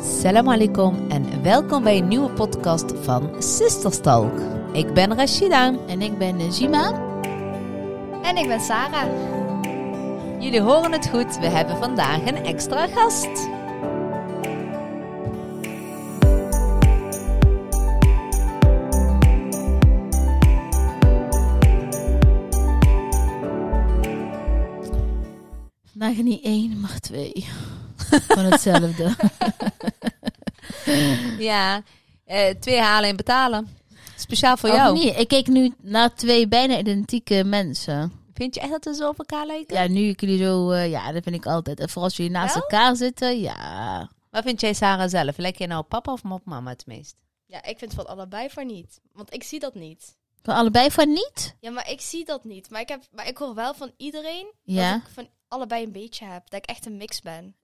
Salam alaikum en welkom bij een nieuwe podcast van Sisterstalk. Ik ben Rashida. En ik ben Najima. En ik ben Sarah. Jullie horen het goed, we hebben vandaag een extra gast. Vandaag niet één, maar twee. Van hetzelfde. Ja, eh, twee halen en betalen. Speciaal voor Of jou. niet? Ik keek nu naar twee bijna identieke mensen. Vind je echt dat we zo op elkaar lijken? Ja, nu ik jullie zo... eh, ja, dat vind ik altijd. En vooral als jullie naast Wel? elkaar zitten, ja. Wat vind jij Sarah zelf? Lijk je nou op papa of op mama het meest? Ja, ik vind van allebei van niet. Want ik zie dat niet. Van allebei van niet? Ja, maar ik zie dat niet. Maar ik, heb, maar ik hoor wel van iedereen Ja. dat ik van allebei een beetje heb. Dat ik echt een mix ben.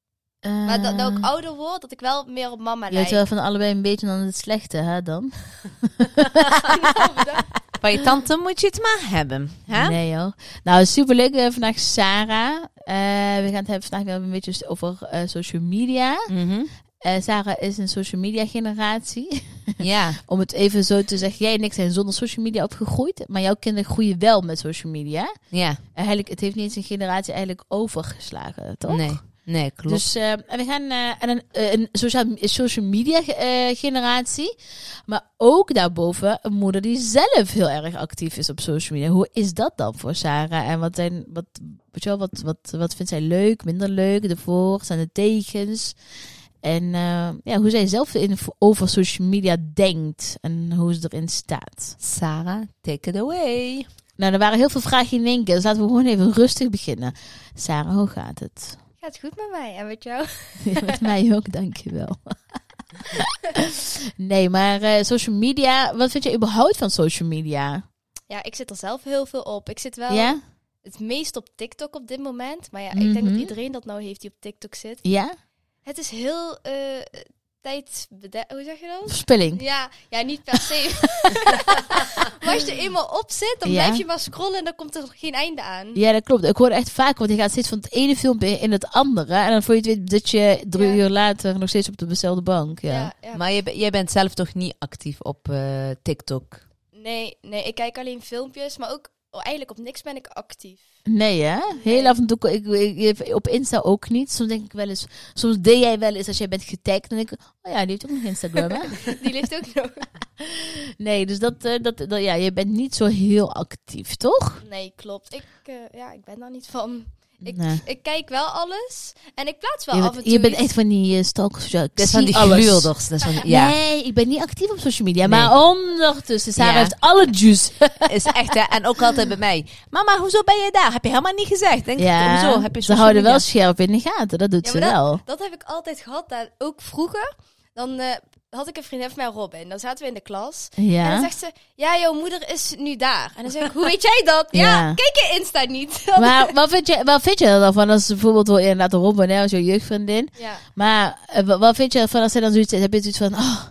Eh, Maar dat, dat ik ouder word, dat ik wel meer op mama Je hebt lijk. wel van allebei een beetje dan het slechte, hè, dan? Van je tante moet je het maar hebben. Hè? Nee, joh. Nou, superleuk. eh, vandaag Sarah. Eh, we gaan het hebben vandaag weer een beetje over eh, social media. Mhm. Eh, Sarah is een social media generatie. Ja. om het even zo te zeggen, jij en ik zijn zonder social media opgegroeid, maar jouw kinderen groeien wel met social media. En ja, Eigenlijk, het heeft niet eens een generatie eigenlijk overgeslagen, toch? nee. Nee, klopt. Dus eh, en we gaan eh, aan een, eh, een social, social media eh, generatie, maar ook daarboven een moeder die zelf heel erg actief is op social media. Hoe is dat dan voor Sarah? En wat, zijn, wat, weet je wel, wat, wat, wat vindt zij leuk, minder leuk, de voor's en de tegens? En eh, ja, hoe zij zelf in, over social media denkt en hoe ze erin staat. Sarah, take it away. Nou, er waren heel veel vragen in één keer, dus laten we gewoon even rustig beginnen. Sarah, hoe gaat het? Gaat goed met mij en met jou? Ja, Met mij ook, dankjewel. Nee, maar eh, social media, wat vind je überhaupt van social media? Ja, ik zit er zelf heel veel op. Ik zit wel Ja? het meest op TikTok op dit moment. Maar ja, ik denk Mhm. dat iedereen dat nou heeft die op TikTok zit. Ja? Het is heel eh tijd... Hoe zeg je dat? Verspilling. Ja, ja, niet per se. maar als je er eenmaal op zit, dan Ja. blijf je maar scrollen en dan komt er geen einde aan. Ja, dat klopt. Ik hoor echt vaak, want je gaat steeds van het ene filmpje in het andere. En dan voor je het weet dat je drie Ja. uur later nog steeds op dezelfde bank. Ja. Ja, ja. Maar je be- jij bent zelf toch niet actief op eh, TikTok? Nee, nee, ik kijk alleen filmpjes, maar ook oh, eigenlijk op niks ben ik actief. Nee, hè? Heel af en toe, ik, ik, ik- op Insta ook niet. Soms denk ik wel eens, soms deed jij wel eens als jij bent getagd. En denk ik, oh ja, die heeft ook nog Instagram, hè? Die leeft ook nog. Nee, dus dat, eh, dat, dat, ja, je bent niet zo heel actief, toch? Nee, klopt. Ik, eh, ja, ik ben daar niet van. Ik, Nee. ik kijk wel alles en ik plaats wel je af bent, en toe. je bent iets. echt van die eh, stalkers. Ja, ik Dat is zie van die alles. gluurders. Dat is van, ja, Nee, ik ben niet actief op social media. Nee. Maar ondertussen, Sarah Ja. heeft alle juice. is echt hè. En ook altijd bij mij. Mama, hoezo ben je daar? Heb je helemaal niet gezegd. Denk ik, hoezo? Heb je ze social houden wel media? scherp in de gaten. Dat doet Ja, ze maar wel. Dat heb ik altijd gehad. En ook vroeger, dan eh, had ik een vriendin van mij, Robin. Dan zaten we in de klas. En dan Ja. zegt ze, ja, jouw moeder is nu daar. En dan zeg ik, hoe weet jij dat? Ja, Ja. kijk je Insta niet. Maar wat vind, je, wat vind je er dan van als ze bijvoorbeeld wil inderdaad Robin hè, als jouw jeugdvriendin. ja. Maar eh, wa- wat vind je ervan als zij dan zoiets Heb je zoiets van, oh,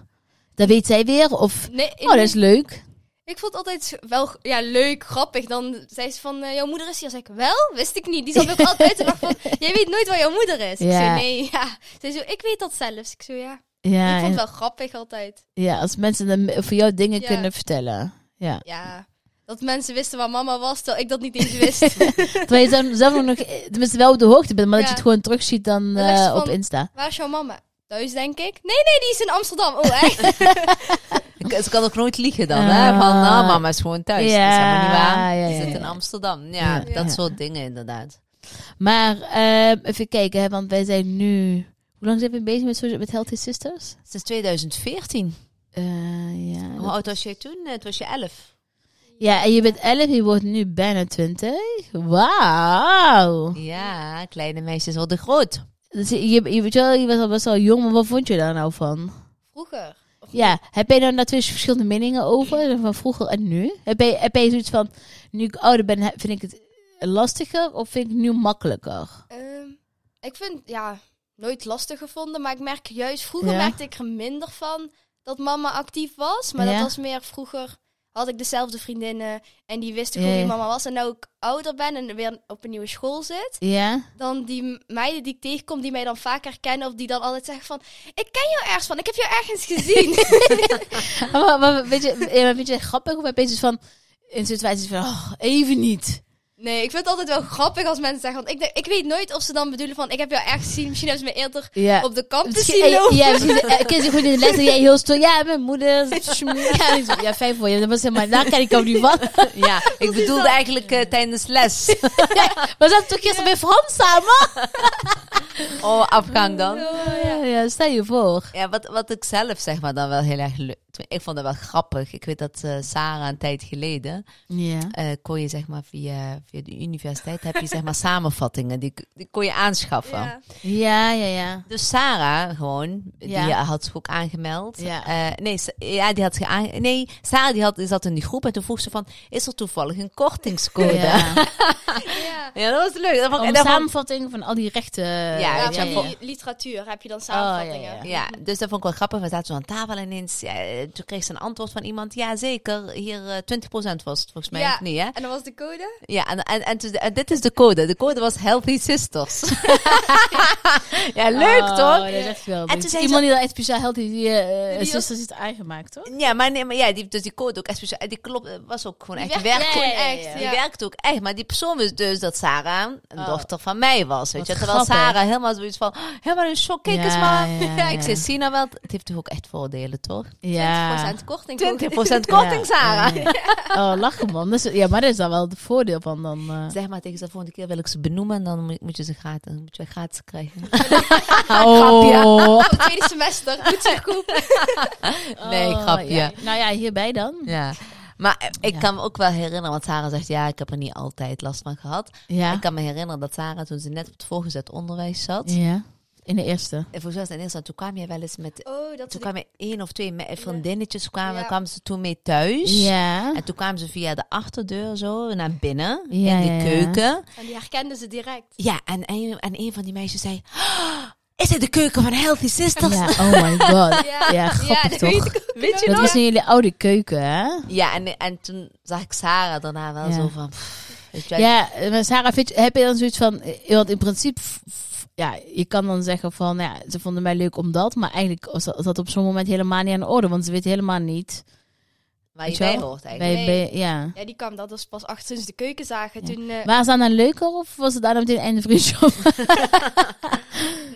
dat weet zij weer? Of, Nee, oh, dat is leuk. Ik vond het altijd wel ja, leuk, grappig. Dan zei ze van, eh, jouw moeder is hier. Dan zei ik, wel? Wist ik niet. Die zat ook altijd en dacht van, jij weet nooit waar jouw moeder is. Ik Ja. zei, nee, ja. Ze zo, ik weet dat zelfs. Ik zo, ja. Ja, ik vond en- het wel grappig altijd. ja, als mensen dan voor jou dingen Ja. kunnen vertellen. Ja. Ja, dat mensen wisten waar mama was, terwijl ik dat niet eens wist. Terwijl je zelf, zelf ook nog, eh, tenminste wel op de hoogte bent, maar dat Ja. je het gewoon terugziet dan Dan dacht eh, je op van- Insta. waar is jouw mama? Thuis, denk ik. Nee, nee, die is in Amsterdam. Oh, echt? Ik- Ze kan ook nooit liegen dan. Ah. hè? Van, nou, mama is gewoon thuis. Ja, Dat is helemaal niet waar. ja, Je ja, zit in ja. Amsterdam. Ja, Ja. dat Ja. soort dingen inderdaad. Maar ehm, even kijken, hè, want wij zijn nu... Hoe lang zijn we bezig met, social- met Healthy Sisters? Sinds 2014. Eh, ja, dat- Hoe oud was jij toen? Eh, Toen was je elf. ja, en je bent 11, je wordt nu bijna 20. Wauw! Ja, kleine meisjes worden groot. Dus je, je, je, weet wel, je was al best wel jong, maar wat vond je daar nou van? Vroeger. Of Ja, heb jij daar nou twee verschillende meningen over, van vroeger en nu? Heb jij, heb jij zoiets van, nu ik ouder ben, he- vind ik het lastiger of vind ik het nu makkelijker? Ehm, ik vind, ja, nooit lastig gevonden. Maar ik merk juist, vroeger Ja. merkte ik er minder van dat mama actief was. Maar Ja. dat was meer vroeger, had ik dezelfde vriendinnen en die wisten Ja, gewoon ja. wie mama was. En nou ik ouder ben en weer op een nieuwe school zit, Ja? dan die m- meiden die ik tegenkom, die mij dan vaak herkennen of die dan altijd zeggen van, ik ken jou ergens van, ik heb jou ergens gezien. Maar, maar weet, je, eh, maar vind je het grappig of heb je iets van... In situaties van, oh, even niet. nee, ik vind het altijd wel grappig als mensen zeggen, want ik, denk- ik weet nooit of ze dan bedoelen van, ik heb jou ergens gezien. Misschien hebben ze me eerder Ja. op de campus Misschien- zien eh, lopen. ja, misschien eh, ken je gewoon in de les dat jij heel stil... Ja, mijn moeder... social media. Ja, zo- ja, fijn voor je. Dat was helemaal... Daar ken ik ook niet van. Ja, ik bedoelde eigenlijk eh, tijdens les. Maar zat toch gisteren bij Frans samen? Oh, afgang dan. Oh, Ja, ja, stel je voor. Ja, wat, wat ik zelf zeg maar dan wel heel erg leuk... Ik vond dat wel grappig. Ik weet dat eh, Sarah een tijd geleden... Ja. eh, kon je zeg maar via, via de universiteit... heb je zeg maar samenvattingen. Die, die kon je aanschaffen. Ja. Ja, ja, ja. Dus Sarah gewoon, die Ja. had zich ook aangemeld. Ja. Eh, nee, Sa- ja, die had zich aange- Nee, Sarah die had, die zat in die groep en toen vroeg ze van... Is er toevallig een Oh, kortingscode? Ja, Ja. Ja. dat was leuk. Dat vond ik- Om dat vond- samenvatting van al die rechten. eh, Ja, Ja, weet je, van ja, die literatuur heb je dan Oh, ja, ja. samenvattingen. Ja, dus dat vond ik wel grappig. We zaten zo aan tafel en ineens, ja, eh, toen kreeg ze een antwoord van iemand. Ja, zeker. Hier eh, 20% was het volgens mij, Ja. of niet, hè? En dan was de code? Ja, en, en, en, toen- en dit is de code. De code was Healthy Sisters. ja, leuk Oh, toch? Dat is echt wel. toen leuk. zei ze- Iemand die dat echt speciaal helpt, die, die eh, Die zusters heeft aangemaakt, toch? Ja, maar, nee, maar ja, die, dus die code ook echt speciaal. en Die klopt, eh, was ook gewoon Die echt, die werkt werkte, gewoon ook- echt, ja. die werkte ook echt. Maar die persoon wist dus dat Sarah een Oh. dochter van mij was. Weet je? Wat Terwijl grappig. Sarah helemaal zoiets van, oh, helemaal in shock. Kijk Ja, eens maar. ja, Ja, ja. ik zei, zie nou wel. Het heeft toch ook echt voordelen, toch? Ja. 20% korting. 20% korting, Sarah. Ja, ja. Oh, lachen man. Dat is, ja, maar dat is dan wel het voordeel van dan. eh. Zeg maar tegen ze, de volgende keer wil ik ze benoemen en dan moet- moet je ze gratis, moet je gratis krijgen. Oh. Op het tweede semester. Goed zo goed. Nee, Oh, grapje. ja. Nou ja, hierbij dan. Ja. Maar eh, ik Ja. kan me ook wel herinneren, want Sarah zegt ja, ik heb er niet altijd last van gehad. Ja. Ik kan me herinneren dat Sarah toen ze net op het voorgezet onderwijs zat. Ja. In de eerste. En volgens mij was het in eerste, toen kwam je wel eens met, Oh, dat toen is kwamen één of twee me- vriendinnetjes kwamen, Ja. kwamen ze toen mee thuis. Ja. En toen kwamen ze via de achterdeur zo naar binnen, Ja, in de ja, ja. keuken. En die herkenden ze direct. Ja, en een, en een van die meisjes zei, "Oh, is dit de keuken van Healthy Sisters? Ja, oh my god. Ja. Ja, grappig dat toch? weet ik ook nog. dat was in jullie oude keuken, hè? Ja, en, en toen zag ik Sarah daarna wel Ja. zo van... pff, weet je wel. Ja, eh, maar Sarah, vind je- heb je dan zoiets van... eh, Want in principe... f- f- Ja, je kan dan zeggen van... nou Ja, ze vonden mij leuk om dat. Maar eigenlijk was dat, was dat op zo'n moment helemaal niet aan de orde. Want ze weet helemaal niet. waar je weet bij wel. hoort eigenlijk. Bij, Nee. bij- ja. Ja, die kwam dat dus pas achter sinds de keuken zagen. Ja. Toen, eh, Waren ze dan dan leuker? Of was het daarna meteen einde vriendschap?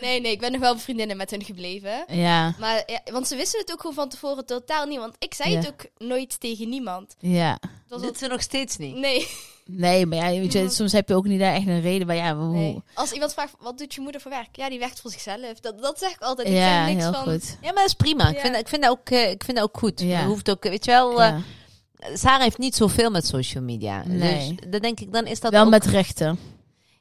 nee, nee, ik ben nog wel vriendinnen met hun gebleven. ja, Maar, ja, want ze wisten het ook gewoon van tevoren totaal niet. Want ik zei Ja. het ook nooit tegen niemand. ja. Het was Dit al- ze nog steeds niet. nee, Nee, maar ja, weet je, soms heb je ook niet daar echt een reden bij. Ja, hoe- nee. Als iemand vraagt, wat doet je moeder voor werk? Ja, die werkt voor zichzelf. Dat, dat zeg ik altijd. Ik ja zeg niks heel van... goed. Ja, maar dat is prima. Ik, Ja. vind, ik, vind dat ook, eh, ik vind dat ook goed. Ja. Je hoeft ook, weet je wel... eh, Ja. Sarah heeft niet zoveel met social media. Nee. Dus dan denk ik, dan is dat Wel ook- met rechten.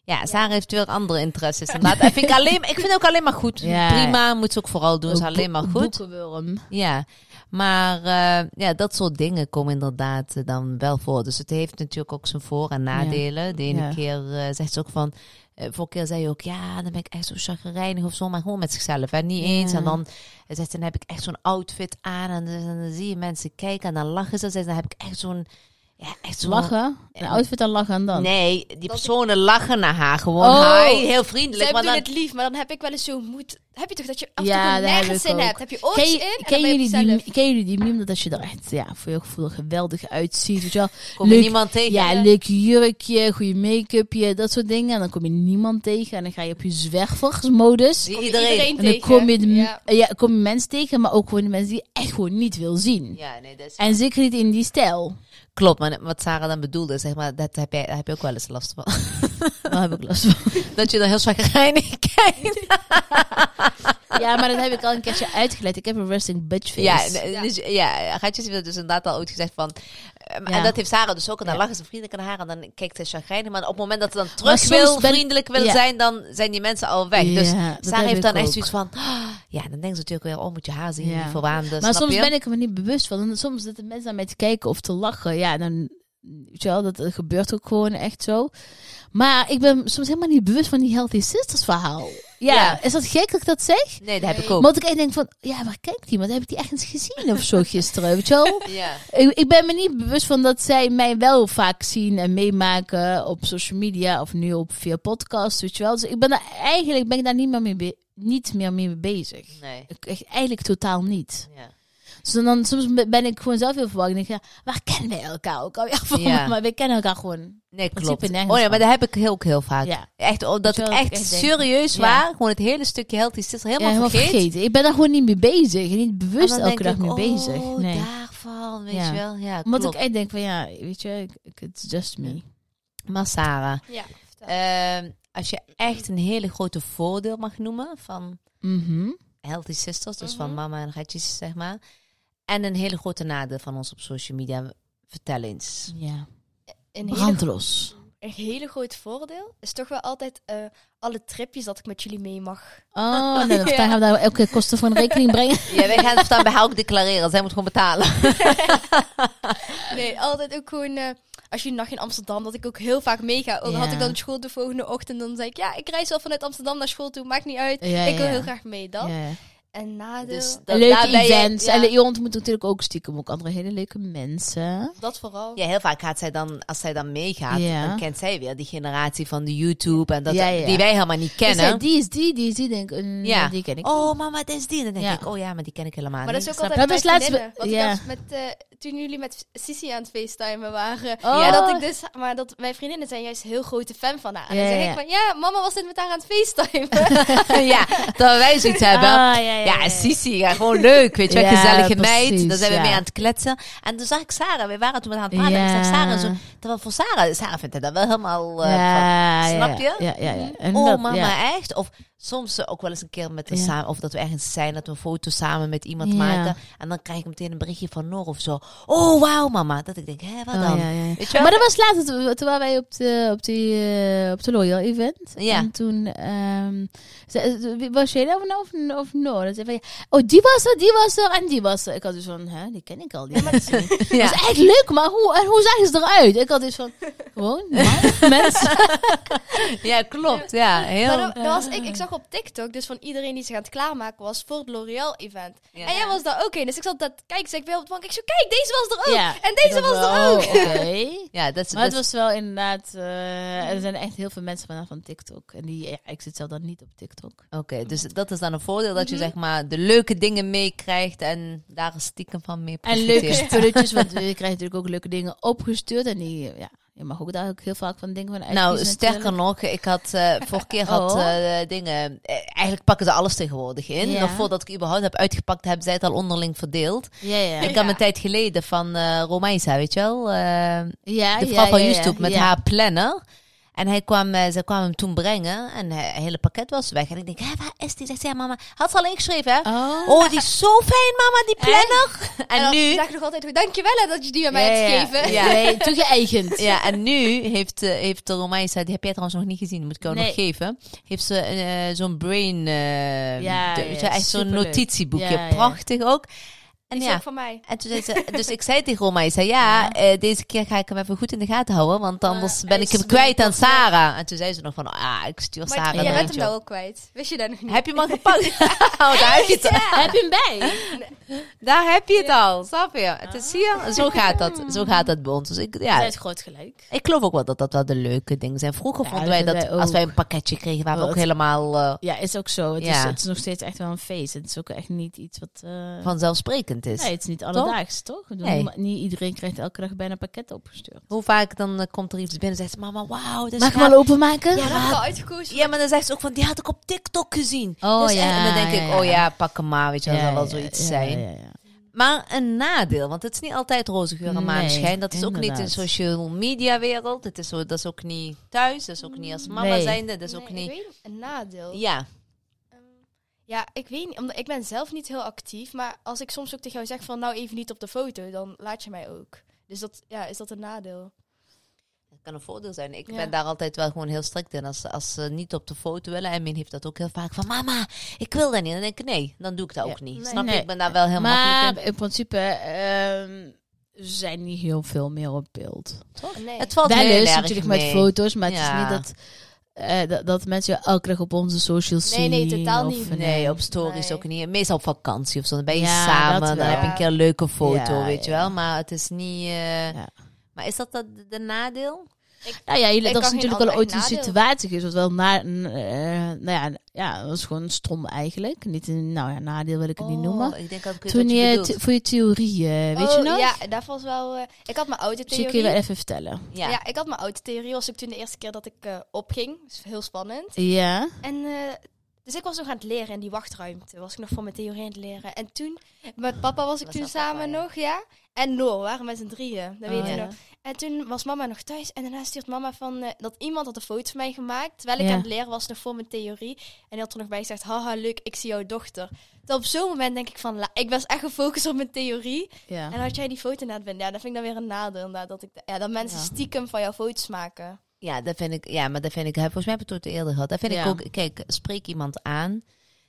Ja, Sarah heeft weer andere interesses. Inderdaad. En vind ik, alleen, ik vind het ook alleen maar goed. Ja. Prima, moet ze ook vooral doen. Is Ook alleen maar boek- goed. Boekenwurm. Ja, maar eh, ja, dat soort dingen komen inderdaad eh, dan wel voor. Dus het heeft natuurlijk ook zijn voor- en nadelen. De ene Ja. keer eh, zegt ze ook van... eh, vorige keer zei je ook, ja, dan ben ik echt zo chagrijnig of zo. Maar gewoon met zichzelf, hè, niet Ja. eens. En dan eh, zegt ze, dan heb ik echt zo'n outfit aan. En, dan- dan zie je mensen kijken en dan lachen ze. Dan zegt ze, dan heb ik echt zo'n... Ja, echt zo'n... Lachen. Een outfit aan lachen en dan. Nee, die personen lachen naar haar gewoon. Oh. hi, heel Zij vriendelijk. Maar doen dan, het lief, maar dan heb ik wel eens zo'n moed. Heb je toch dat je af en toe Ja, gewoon dat heb nergens ik zin ook. hebt? Heb je oors Ken, in? je- en ken, dan ben je jullie op jezelf. die, ken jullie die meme dat als je er echt ja, voor je gevoel er geweldig uitziet? Weet je wel? kom je Leuk. niemand tegen. Ja, leuk jurkje, goede make-upje, dat soort dingen. En dan kom je niemand tegen en dan ga je op je zwerversmodus. Zie Kom je iedereen. En dan tegen? kom je, de, ja. Ja. kom je mensen tegen, maar ook gewoon de mensen die je echt gewoon niet wil zien. Ja, nee, dat is... En zeker niet in die stijl. Klopt, maar wat Sarah dan bedoelde, zeg maar, dat heb, jij, daar heb je ook wel eens last van. Daar heb ik last van. dat je dan heel chagrijnig kijkt. Ja, maar dat heb ik al een keertje uitgelegd. Ik heb een resting bitch face. Ja, ja. Dus, ja, Gaatjes heeft dus inderdaad al ooit gezegd van... ehm, Ja. En dat heeft Sarah dus ook. En dan Ja. lachen ze vriendelijk naar haar en dan kijkt ze chagrijnig. Maar op het moment dat ze dan Maar terug soms wil, ben- vriendelijk wil ja. zijn, dan zijn die mensen al weg. dus Ja, dat Sarah heb heeft dan ik echt ook. zoiets van... "Ah," Ja, dan denkt ze natuurlijk weer, oh, moet je haar zien, Ja. die verwaande, Maar snap soms je? ben ik er me niet bewust van. En soms zitten mensen aan mij te kijken of te lachen. Ja, dan, weet je wel, dat eh, gebeurt ook gewoon echt zo. Maar ik ben soms helemaal niet bewust van die Healthy Sisters verhaal. Ja, Ja. is dat gek dat ik dat zeg? Nee, dat heb ik Nee. ook. Want ik echt denk van, ja, waar kijkt die? Want heb ik die echt eens gezien of zo gisteren, weet je wel? ja. Ik, ik ben me niet bewust van dat zij mij wel vaak zien en meemaken op social media of nu op via podcast, weet je wel. Dus ik ben daar, eigenlijk ben ik daar niet meer mee, be- niet meer mee bezig. Nee. Ik, echt, eigenlijk totaal niet. Ja. Dus dan, dan soms ben ik gewoon zelf heel verwacht. En denk ik, ja, waar kennen wij elkaar ook alweer van? Ja. Maar we kennen elkaar gewoon. Nee, principe klopt. nergens Oh ja, maar van. dat heb ik heel, ook heel vaak. Ja. Echt, oh, Weet dat je ik wel, dat ik echt echt denk- serieus Ja. waar, gewoon het hele stukje healthy is helemaal, Ja, helemaal vergeten. vergeet. Ik ben daar gewoon niet mee bezig. En niet bewust En dan elke dag denk mee ik, bezig. Oh, Nee. daarvan, weet Ja. je wel. Ja, Omdat klopt. ik echt denk van, ja, weet je, ik- ik- it's just me. Maar Sarah, Ja. Eh, ehm, als je echt een hele grote voordeel mag noemen van Mhm. Healthy Sisters, dus Mhm. van mama en ratjes, zeg maar. En een hele grote nadeel van ons op social media. Vertel eens. Ja. Een hele, Brandlos. een hele groot voordeel is toch wel altijd eh, alle tripjes dat ik met jullie mee mag. Oh, nee, dan Ja. gaan we daar elke keer kosten voor een rekening brengen. Ja, wij gaan het dan bij haar ook declareren. Zij moet gewoon betalen. Nee, altijd ook gewoon... eh, als je een nacht in Amsterdam, dat ik ook heel vaak meega. Dan had Ja. ik dan op school de volgende ochtend. Dan zei ik, ja, ik reis wel vanuit Amsterdam naar school toe. Maakt niet uit. Ja, ik wil ja. heel graag mee dan. Ja, ja. En nadeel, Dus dat, daar ben Leuke je- events. ja. En je ontmoet natuurlijk ook stiekem ook andere hele leuke mensen. dat vooral. Ja, heel vaak gaat zij dan, als zij dan meegaat, Ja. dan kent zij weer die generatie van de YouTube en dat, Ja, ja. die wij helemaal niet Dus, eh, kennen. die is die, die is die, denk ik. mm, nou. Ja. Die ken ik. Oh, mama, dat is die. Dan denk Ja. ik, oh ja, maar die ken ik helemaal Maar dat niet. is ook Ah, snap altijd ik. dat Dat mijn is laatst vriendinnen. be- Want ja. ik was met, eh, toen jullie met Sissy aan het facetimen waren. Oh. Ja, dat ik dus, maar dat mijn vriendinnen zijn juist heel grote fan van haar. En Ja, dan ja, zeg ja. ik van, ja, mama was dit met haar aan het facetimen. ja, dat wij zoiets hebben. Ah, ja, ja, ja, ja. Sissi, ja, gewoon leuk, weet je wel, Ja, gezellige meid. precies, Daar zijn we ja. mee aan het kletsen. En toen zag ik Sarah, we waren toen met haar aan het praten. En ik zag Ja. Sarah zo, terwijl voor Sarah, Sarah vindt het dat wel helemaal... eh, van, Ja, ja, snap ja. je? Ja, ja, ja. En Oh dat- mama, ja. echt? Of soms eh, ook wel eens een keer met een Ja. samen, of dat we ergens zijn, dat we een foto samen met iemand Ja. maken. En dan krijg ik meteen een berichtje van Noor of zo. Oh wauw mama, dat ik denk, hè, wat Oh, dan? ja, ja, ja. Weet je wel? Maar dat was laatst, toen- toen waren wij op de, op die, eh, op de Loyal event. Ja. En toen ehm, ze- wie- was jij daar of, of, of no? Dat zei van, ja, oh, die was er, die was er en die was er. Ik had dus van, hè, die ken ik al. Die mensen. Ja. Dat is echt leuk, maar hoe, en hoe zagen ze eruit? Ik had dus van, gewoon, man, mensen. ja, klopt. Ja, heel... maar dat, dat was eh. ik, ik zag op TikTok, dus van iedereen die zich aan het klaarmaken was voor het L'Oreal event. Ja. En jij was daar ook in. Dus ik zat dat, kijk, zei ik weer op de bank. Ik zo, kijk, deze was er ook. Ja. En deze Ik dacht was er wel, ook. Oké. Ja, dat is... Maar het dat is- was wel inderdaad, eh, er zijn echt heel veel mensen van, van TikTok. En die, ja, ik zit zelf dan niet op TikTok. Oké, dus dat is dan een voordeel dat je zeg maar de leuke dingen meekrijgt en daar stiekem van mee En profiteert. leuke spulletjes, want je krijgt natuurlijk ook leuke dingen opgestuurd. En die, ja, je mag ook daar ook heel vaak van dingen van uitkiezen. Nou, sterker natuurlijk. nog, ik had eh vorige keer had Oh. eh, dingen. eh, eigenlijk pakken ze alles tegenwoordig in. Ja. Nog voordat ik überhaupt heb uitgepakt, hebben zij het al onderling verdeeld. Ja, ja. Ik had een tijd geleden van eh Romeisa, weet je wel? eh, ja, de Ah, ja, vrouw van ja, ja, YouTube met ja. haar planner. En hij kwam, eh, zij kwam hem toen brengen en hij- het hele pakket was weg. En ik denk, hè, waar is die? Zegt ze, ja mama, had ze al ingeschreven hè? Oh. Oh, die is zo fijn mama, die planner. En, dan nu... dacht ik nog altijd, goed, dankjewel hè, dat je die aan mij ja, hebt ja. gegeven. Ja. Nee, toegeëigend. Ja, en nu heeft, eh, heeft de Romeisa, die heb jij trouwens nog niet gezien, moet ik jou nog Nee. geven. Heeft ze eh, zo'n brain, eh, Ja, de- ja, weet je, echt zo'n superleuk. notitieboekje. Ja, ja. Prachtig ook. En Die is ja, ook van mij. en toen zei ze, dus ik zei tegen Romeisa, ja, eh, deze keer ga ik hem even goed in de gaten houden, want anders hij ben ik is hem kwijt aan Sarah. En toen zei ze nog van, ah, ik stuur Maar Sarah jij een bent hem eentje nou op. ook kwijt. Wist je dat nog niet? Heb je hem al gepakt? oh, daar heb je het al. Heb je hem bij? Daar heb je het al, snap je? Het is hier, zo gaat dat, zo gaat dat bij ons. Dus ik, ja, Dat is groot gelijk. ik geloof ook wel dat dat wel de leuke dingen zijn. Vroeger Ja, vonden dat wij dat vinden wij als ook. wij een pakketje kregen, waren we Oh, ook dat- helemaal eh, Ja, is ook zo. Het, Ja. is, het is nog steeds echt wel een feest. Het is ook echt niet iets wat... eh, vanzelfsprekend is. nee, het is niet alledaags, toch? Ik bedoel, Nee. niema- Niet iedereen krijgt elke dag bijna pakketten opgestuurd. Dus Hoe vaak dan eh, komt er iets binnen en zegt ze, mama, wauw, dat is Mag ik gaaf." hem al openmaken? Ja, dat heb ik al uitgekozen. Ja, maar dan zegt ze ook van, die had ik op TikTok gezien. Oh, Dus, eh, ja, En dan denk ja, ik, ja. oh ja, pak hem maar, weet je, dat Ja, zal wel ja, zoiets ja, zijn. ja, ja. Maar een nadeel, want het is niet altijd roze geur en Nee, maneschijn. Dat is ook niet inderdaad. een social media wereld. Het is, zo- dat is ook niet thuis, dat is ook niet als mama Nee. zijnde, dat is Nee, ook ik niet... weet het, een nadeel. Ja, Ehm, Ja, ik weet niet, omdat ik ben zelf niet heel actief. Maar als ik soms ook tegen jou zeg van nou even niet op de foto, dan laat je mij ook. Dus dat, ja, is dat een nadeel? dat kan een voordeel zijn. Ik Ja. ben daar altijd wel gewoon heel strikt in. Als, als ze niet op de foto willen, en Min heeft dat ook heel vaak van... Mama, ik wil dat niet. Dan denk ik, nee, dan doe ik dat Ja. ook niet. Nee. Snap je? Nee. Ik ben daar wel heel makkelijk maar in. in principe ehm, ze zijn niet heel veel meer op beeld. Nee. Oh, Het valt Wel heel is erg natuurlijk mee. met foto's, maar het Ja. is niet dat eh, dat, dat mensen je elke dag op onze socials Nee, zien. nee, totaal of niet. een- eh, Nee, op stories Nee. ook niet. Meestal op vakantie of zo. Dan ben je Ja, samen, dat dan wel. heb je een keer een leuke foto, Ja, weet je ja. wel. Maar het is niet... eh, Ja. Maar is dat dat de, de nadeel? Nou ja, jullie- Ik dat is kan geen natuurlijk al ooit ander een nadeel. situatie geweest. Wat wel na, n- eh, nou ja, ja, dat was gewoon stom eigenlijk. Niet een, nou ja, nadeel wil ik het niet Oh, noemen. Ik denk dat ik weet Toen wat je je bedoelt. the- voor je theorie, eh, weet je nou? Oh, nog? Ja, dat was wel... eh, ik had mijn Misschien kun je wel autotheorie. even vertellen. Ja. Ja. ja, ik had mijn autotheorie. was ook toen de eerste keer dat ik eh, opging. Dus heel spannend. Ja. En, eh, dus ik was nog aan het leren in die wachtruimte. Was ik nog voor mijn theorie aan het leren. En toen, met papa was ik Was toen dat papa, samen ja. nog, ja. En Noor, we waren met z'n drieën. Dat weet Oh, Ah, je ja. nog. En toen was mama nog thuis. En daarna stuurt mama van eh, dat iemand had een foto van mij gemaakt. Terwijl ik Ja. aan het leren was nog voor mijn theorie. En die had er nog bij gezegd, haha, leuk, ik zie jouw dochter. Dan op zo'n moment denk ik van, la, ik was echt gefocust op mijn theorie. ja. En had jij die foto na het bent, ja, dat vind ik dan weer een nadeel. Inderdaad, dat, ik, ja, dat mensen Ja. stiekem van jouw foto's maken. Ja, dat vind ik, ja, maar dat vind ik, volgens mij heb ik het ooit eerder gehad. Dat vind Ja. ik ook, kijk, spreek iemand aan.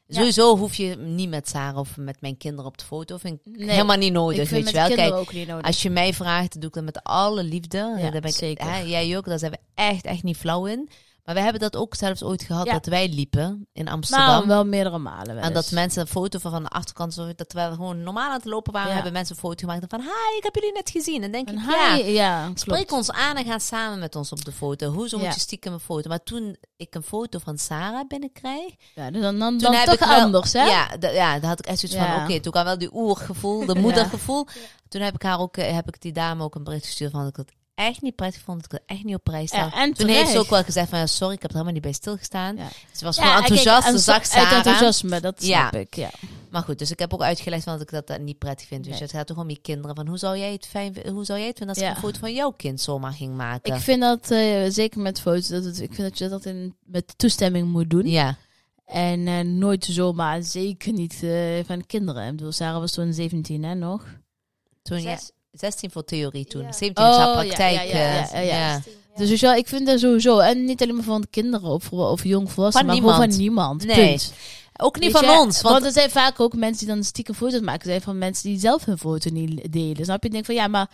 Ja. Sowieso hoef je niet met Sarah of met mijn kinderen op de foto. Vind ik Nee, helemaal niet ik nodig, vind weet je met wel. Kijk, kinderen ook niet nodig. als je mij vraagt, doe ik dat met alle liefde. Ja, daar ben ik, zeker. Hè, jij ook, daar zijn we echt, echt niet flauw in. Maar we hebben dat ook zelfs ooit gehad, Ja. Nou, dus. dat wij liepen in Maar Amsterdam. wel meerdere malen wel en dat eens. mensen een foto van van de achterkant, zo- dat we gewoon normaal aan het lopen waren, Ja. hebben mensen een foto gemaakt van, hi, ik heb jullie net gezien. En denk Een ik, haai- ja, ja, Spreek klopt. ons aan en ga samen met ons op de foto. Hoezo Ja. moet je stiekem een foto? Maar toen ik een foto van Sarah binnenkreeg... Ja, dus dan, dan, Toen dan heb toch ik wel- anders, hè? Ja, da- ja, daar had ik echt zoiets Ja. van... Oké, toen kwam wel die oergevoel, de moedergevoel. Toen heb ik, haar ook, eh, heb ik die dame ook een bericht gestuurd van... dat ik het echt niet prettig vond, dat ik het echt niet op prijs stel. Ja, en toen heeft ze terecht. ook wel gezegd van... Ja, sorry, ik heb er helemaal niet bij stilgestaan. Ja. Ze was Ja, gewoon en kijk, enthousiast, en ze zo- zag Sarah. Uit enthousiasme, dat Ja. snap ik, ja. Maar goed, dus ik heb ook uitgelegd van dat ik dat, eh, niet prettig vind. Dus Nee. het gaat toch om je kinderen. Van hoe zou jij het, fijn, vi- hoe zou jij het vinden als Ja. ik een foto van jouw kind zomaar ging maken? Ik vind dat, eh, zeker met foto's, dat het, ik vind dat je dat in, met toestemming moet doen. ja. En eh, nooit zomaar, zeker niet eh, van kinderen. Ik bedoel, Sarah was toen 17, hè, nog? Toen, ja, Zes- 16 voor theorie toen. Ja. 17 is haar Oh, ja, praktijk. ja, ja, eh, ja, ja. ja. zestien, ja. Dus weet je wel, ik vind dat sowieso, en niet alleen maar van kinderen of, of jongvolwassenen, maar Van gewoon van niemand. niemand, Nee. punt. Ook niet Weet van je, ons. Want, er zijn vaak ook mensen die dan stiekem foto's maken. zijn van mensen die zelf hun foto niet delen. Snap je? Ik denk van ja, maar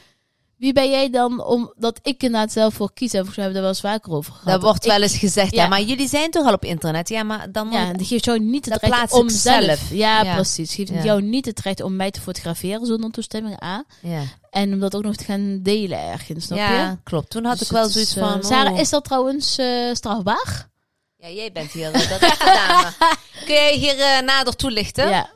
wie ben jij dan omdat ik inderdaad zelf voor kies? En volgens mij hebben we daar wel eens vaker over gehad. daar wordt wel eens gezegd, ja. ja. maar jullie zijn toch al op internet? Ja, maar dan moet Ja, en die geeft jou niet het Dat recht plaats om ik zelf. zelf. Ja, Ja. precies. Geeft Ja. jou niet het recht om mij te fotograferen zonder toestemming A. ja. En om dat ook nog te gaan delen ergens. Snap Ja, je? klopt. Toen had Dus ik wel het is, zoiets eh, van... Sarah, oh. is dat trouwens eh, strafbaar? Ja, jij bent hier, eh, dat is de dame. Kun jij hier eh, nader toelichten? Ja.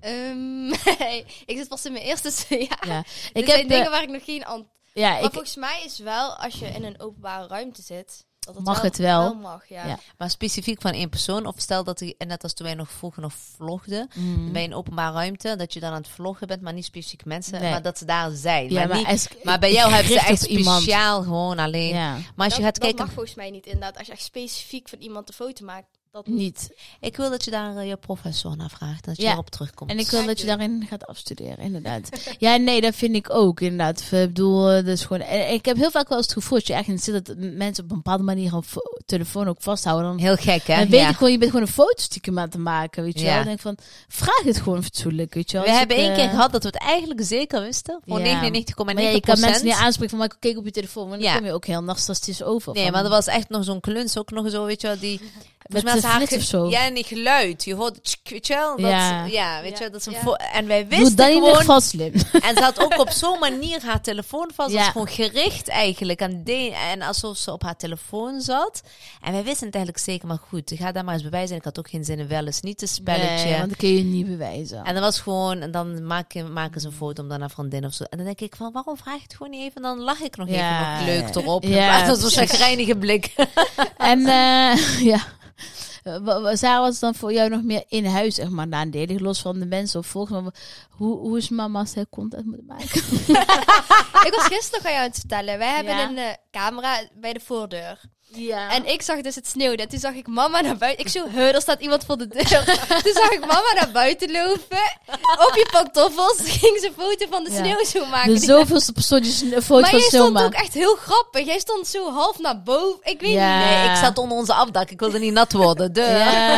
Ehm, ik zit pas in mijn eerste jaar. ja. Dus Ik Ik heb, zijn dingen eh, waar ik nog geen ant ja, Maar ik, volgens mij is wel, als je in een openbare ruimte zit... Dat het Mag wel, het wel. mag, ja. Ja. Maar specifiek van één persoon? Of stel dat hij, en net als toen wij nog vroeger nog vlogden, Mm. bij een openbare ruimte, dat je dan aan het vloggen bent, maar niet specifiek mensen, Nee. maar dat ze daar zijn. ja, maar, maar, niet- als- maar bij jou hebben ze gericht echt op iemand. speciaal gewoon alleen. Ja. Maar als Dat, je gaat dat kijken, mag volgens mij niet, inderdaad. Als je echt specifiek van iemand de foto maakt, dat niet. Niet. Ik wil dat je daar eh, je professor naar vraagt. Dat je Ja. daarop terugkomt. En ik wil dat je Eigenlijk. daarin gaat afstuderen, inderdaad. ja, nee, dat vind ik ook, inderdaad. Ik bedoel, eh, dat is gewoon... en ik heb heel vaak wel eens het gevoel dat je ergens zit... dat mensen op een bepaalde manier hun fo- telefoon ook vasthouden. Dan, Heel gek, hè? dan weet Ja. ik gewoon, je bent gewoon een foto stiekem aan te maken, weet je Ja. wel. Dan denk ik van, vraag het gewoon fatsoenlijk, weet je wel. We Als hebben ik, één keer eh, gehad dat we het eigenlijk zeker wisten. Voor Ja. 99,9 Maar ja, je kan mensen niet aanspreken van, maar ik kijk op je telefoon. Want dan Ja. kom je ook heel nachts als het is over. Nee, van- maar er was echt nog zo'n kluns ook nog zo, weet je wel, die... volgens mij de was haar flit ge- of zo. Ja, en die geluid. Je hoort, tsk, weet je wel? Dat, Ja. ja. weet je wel, dat is een Ja. vo- En wij Doe wisten dat in ieder gewoon... geval slim. En ze had ook op zo'n manier haar telefoon vast. Ja. Dat was gewoon gericht eigenlijk. En, de, en alsof ze op haar telefoon zat. En wij wisten het eigenlijk zeker, maar goed. Ga daar maar eens bewijzen. Ik had ook geen zin in wel eens niet een spelletje. Nee, want dan kun je het niet bewijzen. En dat was gewoon, en dan maken, maken ze een foto om dan naar vriendin of zo. En dan denk ik van, waarom vraag je het gewoon niet even? En dan lach ik nog Ja. even nog leuk erop. Ja, Ja, in plaats van zo'n precies. chagrijnige blik. En eh, ja. Wa- wa- Sarah, was dan voor jou nog meer in huis, zeg maar, nadelig, los van de mensen of volgens mij, hoe, hoe is mama als zij content moet maken? ik was gisteren nog aan jou aan het vertellen. Wij hebben Ja. een eh, camera bij de voordeur. Ja. En ik zag dus het sneeuwde. En toen zag ik mama naar buiten. Ik zo, "Huh, daar staat iemand voor de deur. toen zag ik mama naar buiten lopen. Op je pantoffels ging ze een foto van de Ja. sneeuw zo maken. de zoveelste persoon die een foto maar van jij stond Silma. ook echt heel grappig. Jij stond zo half naar boven. Ik weet Ja. niet. Nee, ik zat onder onze afdak. Ik wilde niet nat worden. Dus Duh. Ja,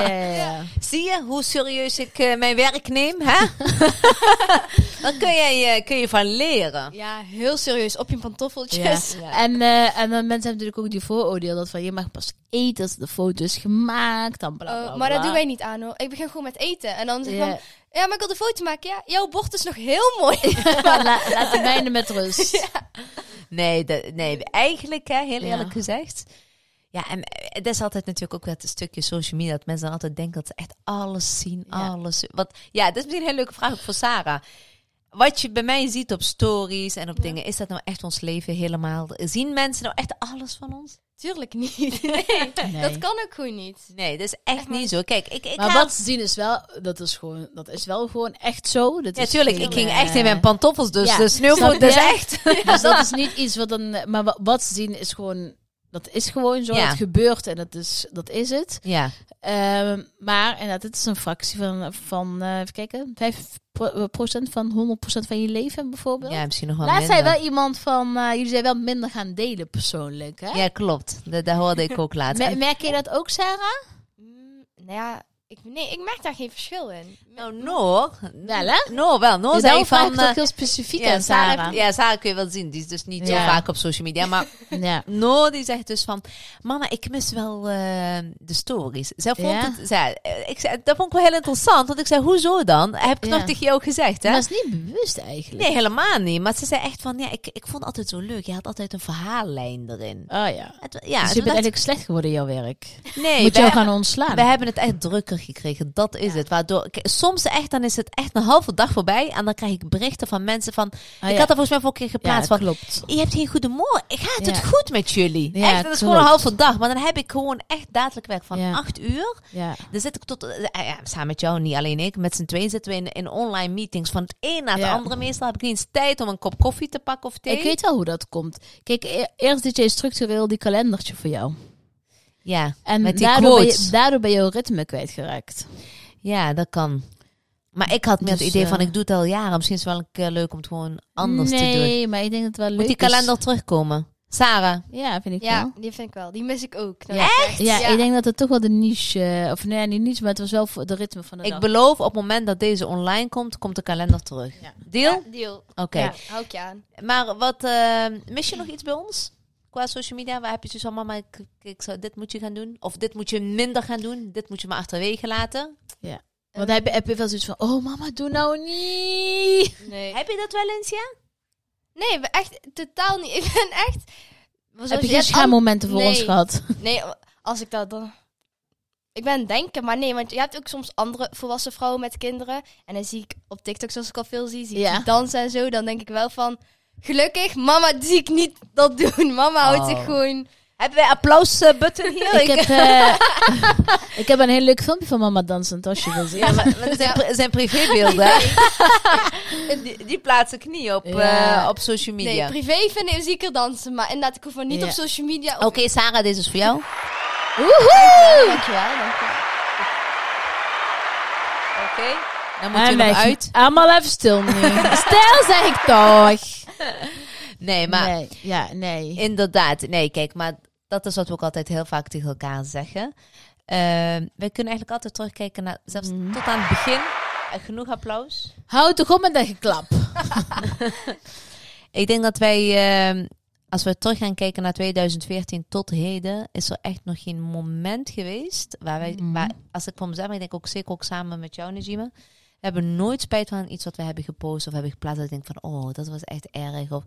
ja, ja, ja. Zie je hoe serieus ik eh, mijn werk neem? Hè? Dan kun je, je, kun je van leren. Ja, heel serieus. Op je pantoffeltjes. Yes. En, eh, en dan mensen hebben natuurlijk ook die vooroordeel dat van je mag pas eten als de foto is gemaakt. Dan bla, Eh, bla, Oh, maar dat bla. doen wij niet aan hoor. Ik begin gewoon met eten. En dan zeg ik dus Ja. van, ja, maar ik wil de foto maken. Ja, jouw bord is nog heel mooi. La- laat de mijne met rust. Nee, dat, nee eigenlijk, hè, heel Ja. eerlijk gezegd. Ja, en eh, het is altijd natuurlijk ook dat stukje social media. Dat mensen dan altijd denken dat ze echt alles zien. Ja. Alles. Want ja, dat is misschien een hele leuke vraag ook voor Sarah. Wat je bij mij ziet op stories en op dingen, is dat nou echt ons leven helemaal? Zien mensen nou echt alles van ons? Tuurlijk niet. Nee, Nee. Dat kan ook gewoon niet. Nee, dat is echt, Echt maar- niet zo. Kijk, ik, ik Maar haal- wat ze zien is wel, dat is gewoon, dat is wel gewoon echt zo. Dat Ja, is tuurlijk. geen, Ik ging eh, echt in mijn pantoffels, dus ja. de sneeuwvoet, Snap dat is je? echt. Dus dat is niet iets wat dan, eh, maar wa- wat ze zien is gewoon, dat is gewoon zo. Ja. Het gebeurt en dat is, dat is het. Ja, Ehm, maar inderdaad, het is een fractie van, van eh even kijken, 5% van 100% van je leven bijvoorbeeld. ja misschien nog wel Laatst zei minder. wel iemand van, eh, jullie zijn wel minder gaan delen persoonlijk, hè? Ja, klopt. Dat, dat hoorde ik ook laatst. Me- merk je dat ook, Sarah? Mm, nou ja, ik, nee, ik merk daar geen verschil in. Nou, Noor. Wel, hè? Noor wel. Noor Dus zei daarom vraag ik van... het ook eh, heel specifiek ja, aan Sarah. Sarah, ja, Sarah kun je wel zien. Die is dus niet Ja. zo vaak op social media. Maar ja. Noor die zegt dus van... Mama, ik mis wel eh, de stories. Zij vond Ja. het... Zij, eh, ik zei, dat vond ik wel heel interessant. Want ik zei, hoezo dan? Heb ik Ja. nog tegen jou gezegd, hè? Maar dat is niet bewust eigenlijk. Nee, helemaal niet. Maar ze zei echt van... Ja, ik, ik vond het altijd zo leuk. Je had altijd een verhaallijn erin. Oh ja. Het- ja, toen dus je bent dacht ik, eigenlijk slecht geworden in jouw werk. Nee, Moet wij- je jou gaan ontslaan. We hebben het echt drukker gekregen, dat is het. Waardoor, k- soms echt, dan is het echt een halve dag voorbij en dan krijg ik berichten van mensen van... Ah, ik had ja. er volgens mij voor een keer ja, geplaatst dat van... klopt. Je hebt geen goede morgen. Gaat het Ja. goed met jullie? Ja, echt, dat is gewoon een klopt. halve dag. Maar dan heb ik gewoon echt dadelijk werk van Ja. acht uur. Ja. Dan zit ik tot... eh, eh, ja, samen met jou, niet alleen ik. Met z'n tweeën zitten we in, in online meetings. Van het een naar het Ja. andere. Meestal heb ik niet eens tijd om een kop koffie te pakken of thee. Ik weet wel hoe dat komt. Kijk, e- eerst deed je structureel die kalendertje voor jou. Ja, En Met die daardoor, ben je, quotes. daardoor ben je jouw ritme kwijtgeraakt. ja, dat kan. Maar ik had meer Dus, het idee eh, van, ik doe het al jaren. Misschien is het wel een keer leuk om het gewoon anders nee, te doen. maar ik denk dat het wel leuk Moet die is. kalender terugkomen? Sarah. Ja, vind ik Ja, wel. die vind ik wel. Die mis ik ook. Nou, Ja. echt? Ja, Ja. ik denk dat het toch wel de niche... eh, of nee, niet niche, maar het was wel voor de ritme van de dag. Ik beloof, op het moment dat deze online komt, komt de kalender terug. Ja. Deal? Ja, deal. Oké. Ja, hou ik je aan. Maar wat, eh, mis je nog iets bij ons? Qua social media, waar heb je zoiets van, mama, ik, ik zou, dit moet je gaan doen. Of dit moet je minder gaan doen. Dit moet je maar achterwege laten. Want heb je, heb je wel zoiets van... Oh mama, doe nou niet! Nee. Heb je dat wel eens, ja? Nee, we- echt totaal niet. Ik ben echt... Zoals heb je geen net oh, al- schaammomenten voor Nee. ons gehad? Nee, als ik dat dan... Ik ben denken, maar nee, want je hebt ook soms andere volwassen vrouwen met kinderen. En dan zie ik op TikTok, zoals ik al veel zie, zie ik Ja. die dansen en zo. Dan denk ik wel van, gelukkig, mama zie ik niet dat doen. Mama houdt zich Oh. gewoon... Hebben wij applausbutton hier? ik, heb, eh, ik heb een heel leuk filmpje van mama dansend, als je wil zien. Ja, maar, maar dat zijn, pri- zijn privébeelden. hè? die, die plaatsen ik niet op, Ja. eh, op social media. Nee, privé vind ik, zie ik er dansen. Maar inderdaad, ik hoef er niet Ja. op social media... Oké, Sarah, deze is voor jou. Woehoe! Dankjewel, dankjewel. Oké. Dan moet je En nog weg. uit. Allemaal even stil nu. Stil zeg ik toch. Nee, maar nee, ja, nee. Inderdaad, nee, kijk, maar dat is wat we ook altijd heel vaak tegen elkaar zeggen. Ehm wij kunnen eigenlijk altijd terugkijken naar, zelfs tot aan het begin. Eh, Genoeg applaus. Houd toch op met dat geklap. Ik denk dat wij, ehm, als we terug gaan kijken naar 2014 tot heden, is er echt nog geen moment geweest waar wij, Mhm. waar, als ik voor mezelf, maar ik denk ook zeker ook samen met jou, Najima, we hebben nooit spijt van iets wat we hebben gepost of hebben geplaatst. Dat ik denk van, oh, dat was echt erg. Of,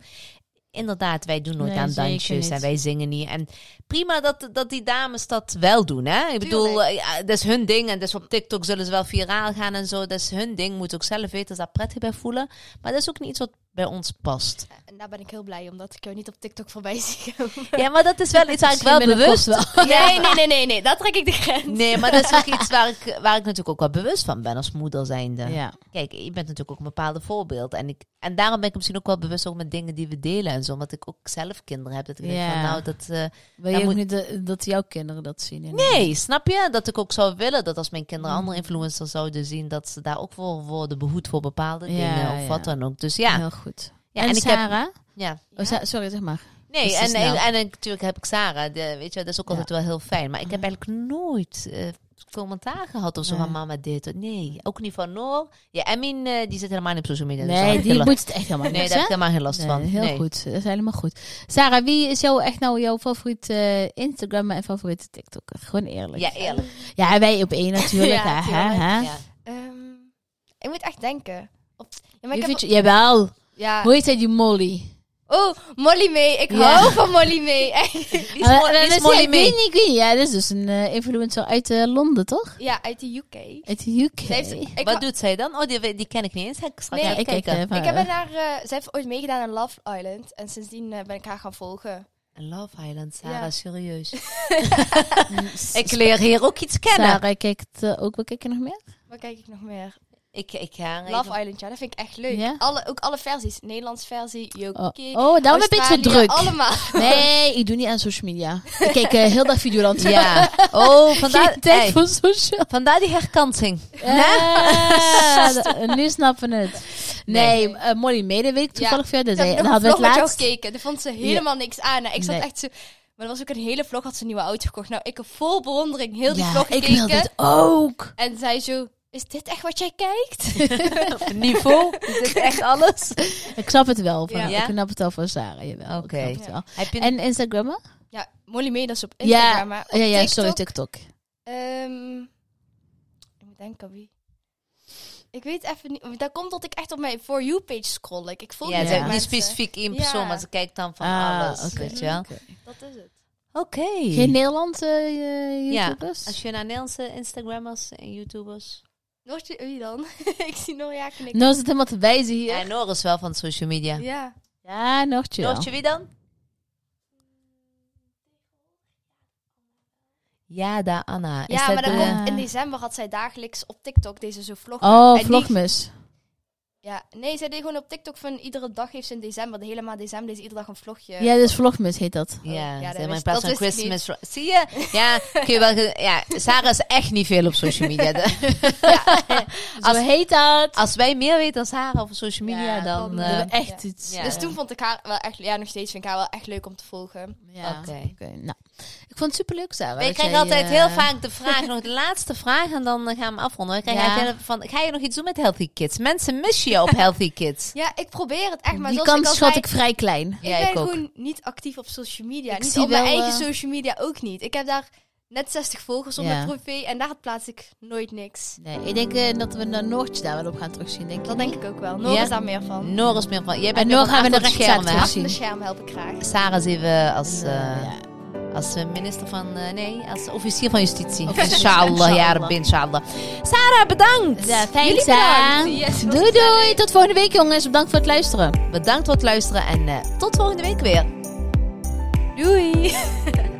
inderdaad, wij doen nooit Nee, aan zeker dansjes en niet. wij zingen niet. En prima dat, dat die dames dat wel doen, hè? Ik bedoel, eh, ja, dat is hun ding en dus op TikTok zullen ze wel viraal gaan en zo. Dat is hun ding, moet ook zelf weten als ze daar prettig bij voelen. Maar dat is ook niet iets wat bij ons past. En daar ben ik heel blij om, dat ik jou niet op TikTok voorbij zie komen. Ja, maar dat is wel iets waar ik wel Misschien binnenkort bewust... wel. Nee, nee, nee, nee, nee. Daar trek ik de grens. Nee, maar dat is ook iets waar ik, waar ik natuurlijk ook wel bewust van ben als moeder zijnde. Ja. Kijk, je bent natuurlijk ook een bepaalde voorbeeld. En, ik, en daarom ben ik misschien ook wel bewust ook met dingen die we delen en zo. Omdat ik ook zelf kinderen heb. Dat ik denk Ja. van, nou, dat... eh, Dan Wil je ook moet- niet de- dat jouw kinderen dat zien? in- Nee, snap je? Dat ik ook zou willen dat als mijn kinderen Mm. andere influencers zouden zien, dat ze daar ook voor worden behoed voor bepaalde Ja, dingen of ja. wat dan ook. Dus ja, Heel goed. ja en, ik heb. Sarah? Ja. Oh, Sa- sorry, zeg maar. Nee, Dus en, is en, nou- en natuurlijk heb ik Sarah, de, weet je, dat is ook Ja. Oh. altijd wel heel fijn. Maar ik heb eigenlijk nooit eh, commentaar gehad of zo Nee. van mama dit. Nee, ook niet van Noor. Ja, Emin eh, die zit helemaal niet op social media. dus daar heb Nee, ik die geen moet het echt helemaal last- Nee, niks, daar heb hè? ik helemaal geen last Nee, van. Heel nee. goed, dat is helemaal goed. Sarah, wie is jouw, echt nou jouw favoriet eh Instagram en favoriete TikToker? Gewoon eerlijk. Ja, eerlijk. Ja, en wij op één natuurlijk. Ja, hè, hè, tuurlijk. hè? Ja. Ehm, ik moet echt denken. Op, ja, Je maar ik heb, vindt- Jawel. Ah. ja. Hoe heet zij, die Molly? Oh, Molly May. Ik Ja. hou van Molly May. Echt. Die is, Mo- Eh, die is eh, Molly ik weet mee. niet, ik weet niet. Ja, dat is dus een eh, influencer uit eh, Londen, toch? Ja, uit de UK. Uit de UK. Zij heeft, ik, Wat ha- doet zij dan? Oh, die, die ken ik niet eens. Ga Ik straks Nee, even ik kijk kijken. even. ik heb haar, naar, eh, zij heeft ooit meegedaan aan Love Island. En sindsdien eh, ben ik haar gaan volgen. Love Island, Sarah, Ja. serieus. ik leer hier ook iets kennen. Sarah kijkt eh, ook, wat kijk je nog meer? Wat kijk ik nog meer? Ik, ik ga er Love even- Island, ja, dat vind ik echt leuk. Ja? Alle, ook alle versies. Nederlands versie, UK, Oh, oh daarom heb ik het zo Australië, druk. Allemaal. Nee, ik doe niet aan social media. Ik kijk eh, heel dag Videoland. Ja. Oh, vandaar, Geen tijd hey, voor social. vandaar die herkansing. Ja, d- nu snappen we het. Nee, eh, Molly Mede weet ik toevallig verder. Ik heb Nee, nog dan een hadden vlog we met het jou laatst. gekeken. Daar vond ze helemaal niks aan. Nou, ik zat Nee. echt zo... Maar er was ook een hele vlog, had ze een nieuwe auto gekocht. Nou, ik heb vol bewondering heel die Ja, vlog ik gekeken. wil dit ook. En zij zo... Is dit echt wat jij kijkt? Op niveau. Is dit echt alles? Ik snap het wel. Van, Ja. Ik snap het al van Sarah. Jawel, Oké. ik snap het wel. Heb je En Instagrammen? Ja, Molly May, dat is op Ja, Instagram. maar op ja, ja, sorry, TikTok, TikTok. Ehm, ik moet denken aan wie. Ik weet even niet. want Dat komt dat ik echt op mijn For You page scroll. Ik, ik volg ja, niet ze veel heeft niet mensen. specifiek één persoon, Ja. maar ze kijkt dan van Ah, alles. oké. Weet je wel? Oké. Dat is het. Oké. Geen Nederland eh Ja, YouTubers? Als je naar Nederlandse Instagrammers en YouTubers... Noortje, wie dan? ik zie Noorja knikken. Nou is het helemaal te wijzen hier. Ja, Noor is wel van social media. Ja. Ja, Noortje wel. Noortje, wie dan? Ja, daar Anna. Is ja, maar dat dan de- komt, in december had zij dagelijks op TikTok deze zo vlog. Oh, En die- Vlogmas. ja, nee, zij deed gewoon op TikTok van iedere dag heeft ze in december, de hele maand december, deed ze iedere dag een vlogje. Ja, dus Vlogmas heet dat. Ja, Ja, dat zeg maar in wist- plaats dat van wist ik Christmas. ro- Zie je? Ja, kun je wel ge- ja, Sarah is echt niet veel op social media. De- Als heet dat. Als wij meer weten dan Sarah over social media, Ja, dan... dan- eh, Ja. Echt iets. Ja. Dus toen vond ik haar wel echt, ja, nog steeds vind ik haar wel echt leuk om te volgen. Ja, oké. Oké. Nou, ik vond het superleuk, Sarah. wij dat krijgen jij, altijd eh, heel vaak de vraag, nog de laatste vraag, en dan eh, gaan we afronden. We krijgen Ja. altijd heel- van, ga je nog iets doen met Healthy Kids? Mensen missen je op Healthy Kids. Ja, ik probeer het echt, maar die zoals ik al kans zei, schat ik vrij klein. Ja, ik ben ik ook. gewoon niet actief op social media. Ik niet zie op mijn wel, eigen eh, social media ook niet. Ik heb daar net 60 volgers op Ja. mijn privé en daar plaats ik nooit niks. Nee, ik denk eh, dat we naar Noortje daar wel op gaan terugzien, denk Dat ik. denk ik ook wel. Noor Ja. is daar meer van. Noor is meer van... Jij En bent Noor meer van gaan we achter het de rechtszaak scherm, hè? terugzien. Achter de scherm help ik graag. Sarah zien we Dus, als, eh, Ja. als eh, minister van... eh, nee, als officier van justitie. Officier, Inshallah, ja, inshallah. Rabbi, inshallah. Sarah, bedankt! Ja, Jullie thanks, hè. bedankt. Yes, was Doei, gezellig. doei. Tot volgende week, jongens. Bedankt voor het luisteren. Bedankt voor het luisteren en eh, tot volgende week weer. Doei!